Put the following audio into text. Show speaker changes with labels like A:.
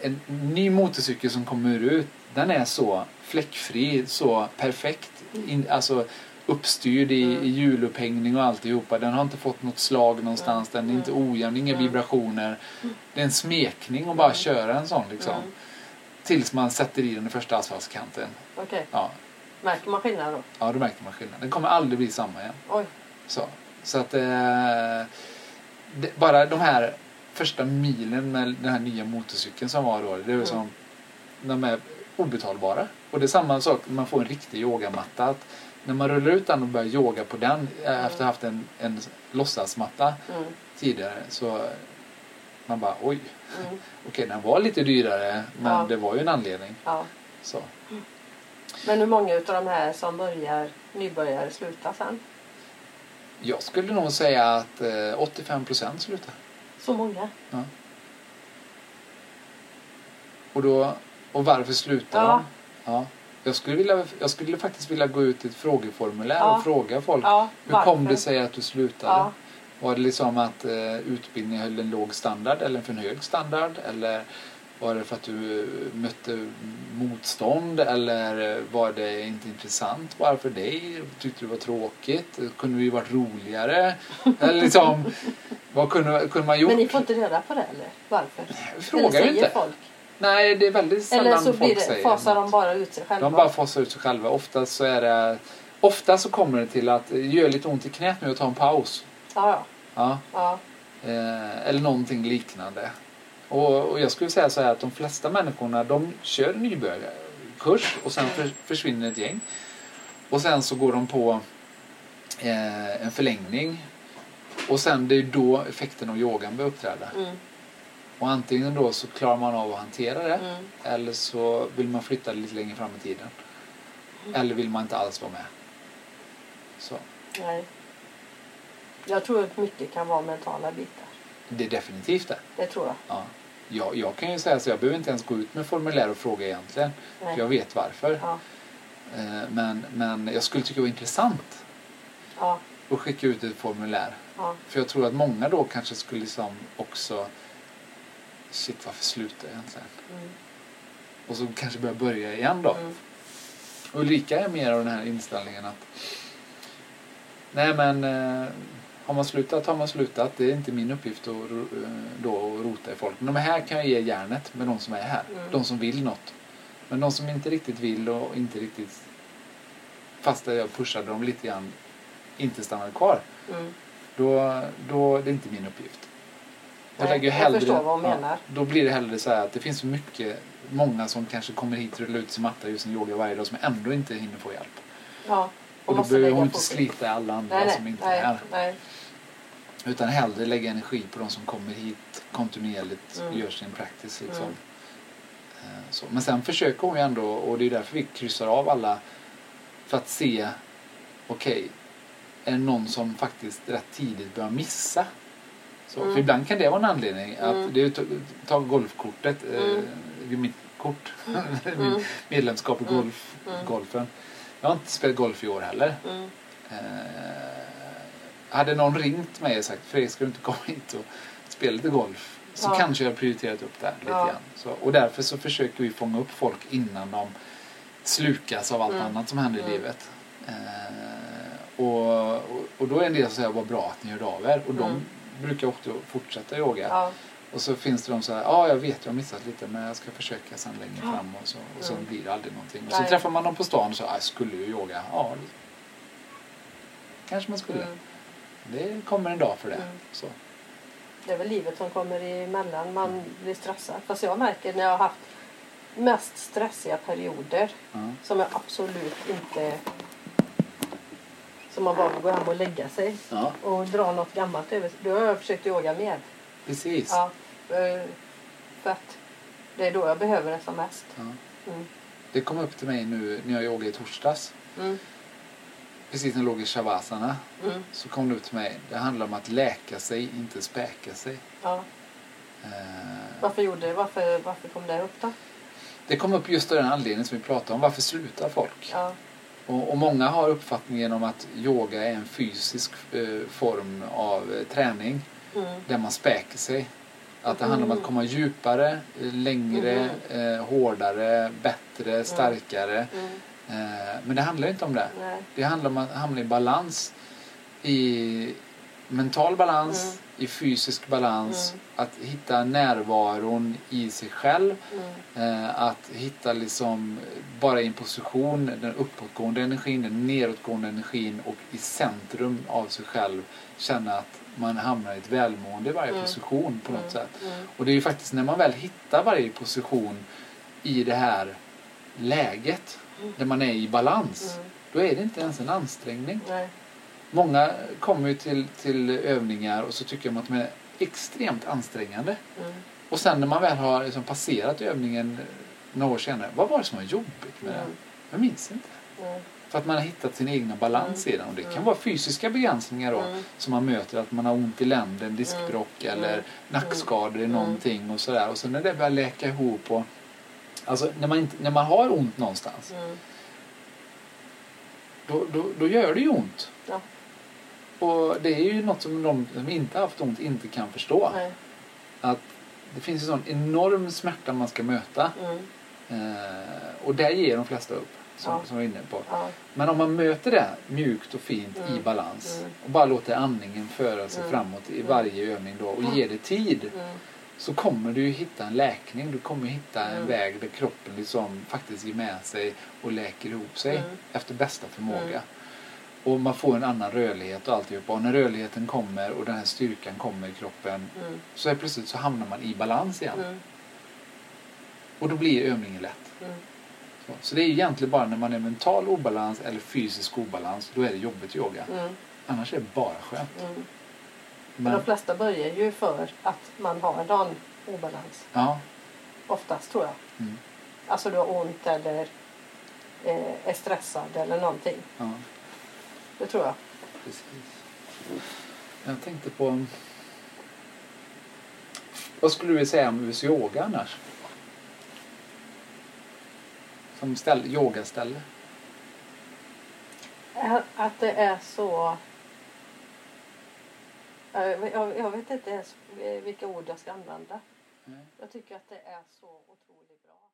A: en ny motorcykel som kommer ut, den är så fläckfri, så perfekt. In, alltså uppstyrd i, i hjulupphängning och alltihopa. Den har inte fått något slag någonstans, den är inte ojämn, inga vibrationer. Det är en smekning att bara köra en sån liksom.
B: Mm.
A: Tills man sätter i den i första asfaltskanten.
B: Okej,
A: Ja,
B: märker man skillnad då?
A: ja då märker man skillnaden. Den kommer aldrig bli samma igen.
B: Oj.
A: Så, så att eh, det, bara de här första milen med den här nya motorcykeln som var då, det är
B: Mm.
A: som, de är obetalbara. Och det är samma sak när man får en riktig yogamatta. Att när man rullar ut den och börjar yoga på den eh, efter att ha haft en, en låtsasmatta
B: Mm.
A: tidigare så man bara oj,
B: Mm.
A: okej den var lite dyrare men
B: Ja.
A: det var ju en anledning.
B: Ja.
A: Så.
B: Men hur många av de här som börjar, nybörjare slutar sen?
A: Jag skulle nog säga att eh, 85% slutar.
B: Så många?
A: Ja. Och, då, och varför slutar
B: Ja.
A: de? Ja. Jag, skulle vilja, jag skulle faktiskt vilja gå ut i ett frågeformulär
B: Ja.
A: och fråga folk.
B: Ja,
A: Hur
B: varför?
A: kom det sig att du slutade?
B: Ja.
A: Var det liksom att eh, utbildningen höll en låg standard eller för en hög standard? Eller var det för att du eh, mötte motstånd? Eller eh, var det inte intressant bara för dig? Tyckte du det var tråkigt? Kunde vi varit roligare? Eller liksom, vad kunde, kunde man gjort?
B: Men ni får inte reda på det eller? Varför?
A: Jag
B: eller
A: frågar ju
B: säger
A: inte.
B: folk?
A: Nej, det är väldigt sällan
B: Eller så
A: folk
B: blir det,
A: säger
B: fasar
A: något.
B: de bara ut sig själva?
A: De bara fasar ut sig själva. Ofta så är det... Ofta så kommer det till att det gör lite ont i knät nu och ta en paus.
B: Ja, ja.
A: Ja.
B: ja.
A: Eh, eller någonting liknande. Och, och jag skulle säga så här att de flesta människorna de kör nybörjarkurs och sen för, försvinner ett gäng. Och sen så går de på eh, en förlängning. Och sen det är då effekten av yogan börjar uppträda.
B: Mm.
A: Och antingen då så klarar man av att hantera det.
B: Mm.
A: Eller så vill man flytta det lite längre fram i tiden.
B: Mm.
A: Eller vill man inte alls vara med. Så.
B: Nej. Jag tror att mycket kan vara mentala bitar.
A: Det är definitivt det.
B: Det tror jag.
A: Ja. Jag, jag kan ju säga så, jag behöver inte ens gå ut med formulär och fråga egentligen.
B: Nej.
A: För jag vet varför.
B: Ja,
A: Eh, Men, men jag skulle tycka det var intressant
B: ja,
A: att skicka ut ett formulär.
B: ja.
A: För jag tror att många då kanske skulle liksom också... Shit, varför slutar jag egentligen?
B: Mm.
A: Och så kanske börja börja igen då.
B: Mm.
A: Ulrika är mer av den här inställningen att nej men eh, har man slutat har man slutat. Det är inte min uppgift att ro- eh, då att rota i folk. Men de här kan jag ge järnet med de som är här.
B: Mm.
A: De som vill något. Men de som inte riktigt vill och inte riktigt fast jag pushade dem lite grann inte stannade kvar.
B: Mm.
A: Då, då det är inte min uppgift. Jag,
B: Nej,
A: lägger ju
B: jag
A: hellre,
B: förstår vad hon menar.
A: då blir det hellre så här att det finns så mycket, många som kanske kommer hit och rullar ut sin matta just en yoga varje dag som ändå inte hinner få hjälp.
B: ja.
A: Och då
B: måste
A: behöver
B: lägga
A: hon inte
B: fokus.
A: slita alla andra
B: nej, nej,
A: som inte
B: nej,
A: är här.
B: Nej.
A: Utan hellre lägga energi på de som kommer hit kontinuerligt och
B: Mm.
A: gör sin practice. Liksom.
B: Mm.
A: Eh, Så. Men sen försöker hon ju ändå och det är därför vi kryssar av alla för att se, okej, är det någon som faktiskt rätt tidigt börjar missa? Så,
B: Mm.
A: För ibland kan det vara en anledning. Att
B: Mm.
A: det är, ju ta- ta golfkortet,
B: Mm.
A: eh, mitt kort,
B: Mm.
A: min medlemskap i
B: Mm.
A: golf,
B: Mm.
A: golfen. Jag har inte spelat golf i år heller.
B: Mm.
A: Eh, hade någon ringt mig och sagt Fredrik ska du inte komma hit och spela lite golf så
B: Ja.
A: kanske jag prioriterat upp det här lite
B: Ja.
A: grann. Så, och därför så försöker vi fånga upp folk innan de slukas av allt
B: Mm.
A: annat som händer i
B: Mm.
A: livet. Eh, och, och, och då är en del som säger vad bra att ni hörde av er och de
B: Mm.
A: brukar också fortsätta yoga.
B: Ja.
A: Och så finns det de så här, ja jag vet jag har missat lite men jag ska försöka sen längre
B: Ja.
A: fram och så, och så
B: Mm.
A: blir det aldrig någonting. Och så
B: Nej.
A: träffar man dem på stan och så, "Ah, jag skulle ju yoga. Ja, det kanske man skulle.
B: Mm.
A: Det kommer en dag för det.
B: Mm.
A: Så.
B: Det är väl livet som kommer emellan. Man blir stressad. Fast jag märker när jag har haft mest stressiga perioder
A: Ja.
B: som jag absolut inte... Som man bara går hem och lägga sig
A: ja,
B: och dra något gammalt över sig. Då har jag försökt yoga mer.
A: precis. Ja.
B: Ja, eh, för att det är då jag behöver det som mest. Mm.
A: Det kom upp till mig nu när jag yogade i torsdags.
B: Mm.
A: Precis när jag låg i shavasana
B: Mm.
A: så kom det upp till mig. Det handlar om att läka sig, inte späka sig.
B: Ja.
A: Eh,
B: Varför, gjorde, det? varför, varför kom det upp då?
A: det kom upp just av den anledningen som vi pratade om. Varför slutar folk?
B: Ja.
A: Och, och många har uppfattningen om att yoga är en fysisk eh, form av eh, träning
B: Mm.
A: där man späker sig. Att det handlar om att komma djupare, eh, längre, eh, hårdare, bättre, starkare.
B: Mm.
A: Eh, men det handlar inte om det.
B: Nej.
A: Det handlar om att hamna i balans. I mental balans,
B: Mm.
A: i fysisk balans.
B: Mm.
A: Att hitta närvaron i sig själv.
B: Mm.
A: Eh, att hitta liksom bara i en position, den uppåtgående energin, den nedåtgående energin och i centrum av sig själv känna att man hamnar i ett välmående i varje
B: Mm.
A: position på något
B: Mm.
A: sätt.
B: Mm.
A: Och det är ju faktiskt när man väl hittar varje position i det här läget
B: Mm.
A: där man är i balans,
B: Mm.
A: då är det inte ens en ansträngning.
B: Nej.
A: Många kommer ju till, till övningar och så tycker de att de är extremt ansträngande.
B: Mm.
A: Och sen när man väl har liksom passerat övningen några år senare, vad var det som var jobbigt med den?
B: Mm.
A: Jag minns inte.
B: Nej.
A: För att man har hittat sin egna balans i den. Och det kan vara fysiska begränsningar då,
B: Mm.
A: som man möter, att man har ont i länden, diskbråck
B: Mm.
A: eller
B: Mm.
A: nackskador i någonting och sådär. Och sen när det börjar läka ihop och... Alltså när man, inte, när man har ont någonstans,
B: Mm.
A: då, då, då gör det ju ont.
B: Ja.
A: Och det är ju något som de som inte har haft ont inte kan förstå.
B: Nej.
A: Att det finns en sån enorm smärta man ska möta.
B: Mm.
A: Eh, och där ger de flesta upp, som,
B: Ja.
A: som vi är inne på.
B: Ja.
A: Men om man möter det mjukt och fint i
B: Mm.
A: balans
B: Mm.
A: och bara låter andningen föra sig
B: Mm.
A: framåt i
B: Mm.
A: varje övning då och
B: Mm.
A: ger det tid
B: Mm.
A: så kommer du ju hitta en läkning. Du kommer hitta en
B: Mm.
A: väg där kroppen liksom faktiskt ger med sig och läker ihop sig
B: Mm.
A: efter bästa förmåga.
B: Mm.
A: Och man får en annan rörlighet och alltihopa. Och när rörligheten kommer och den här styrkan kommer i kroppen
B: Mm.
A: så är plötsligt så hamnar man i balans igen.
B: Mm.
A: Och då blir övningen lätt.
B: Mm.
A: Så. Så det är egentligen bara när man är mental obalans eller fysisk obalans, då är det jobbigt yoga.
B: Mm.
A: Annars är det bara skönt.
B: Mm. Men
A: Men,
B: de flesta börjar ju för att man har en sån obalans.
A: ja,
B: Oftast tror jag.
A: mm,
B: Alltså du har ont eller eh, är stressad eller någonting.
A: ja,
B: Det tror jag.
A: precis. Jag tänkte på... Vad skulle du säga om US yoga annars? Som ställ, yogaställe?
B: Är- Att det är så... Jag, jag, jag vet inte ens vilka ord jag ska använda.
A: Nej.
B: Jag tycker att det är så otroligt bra.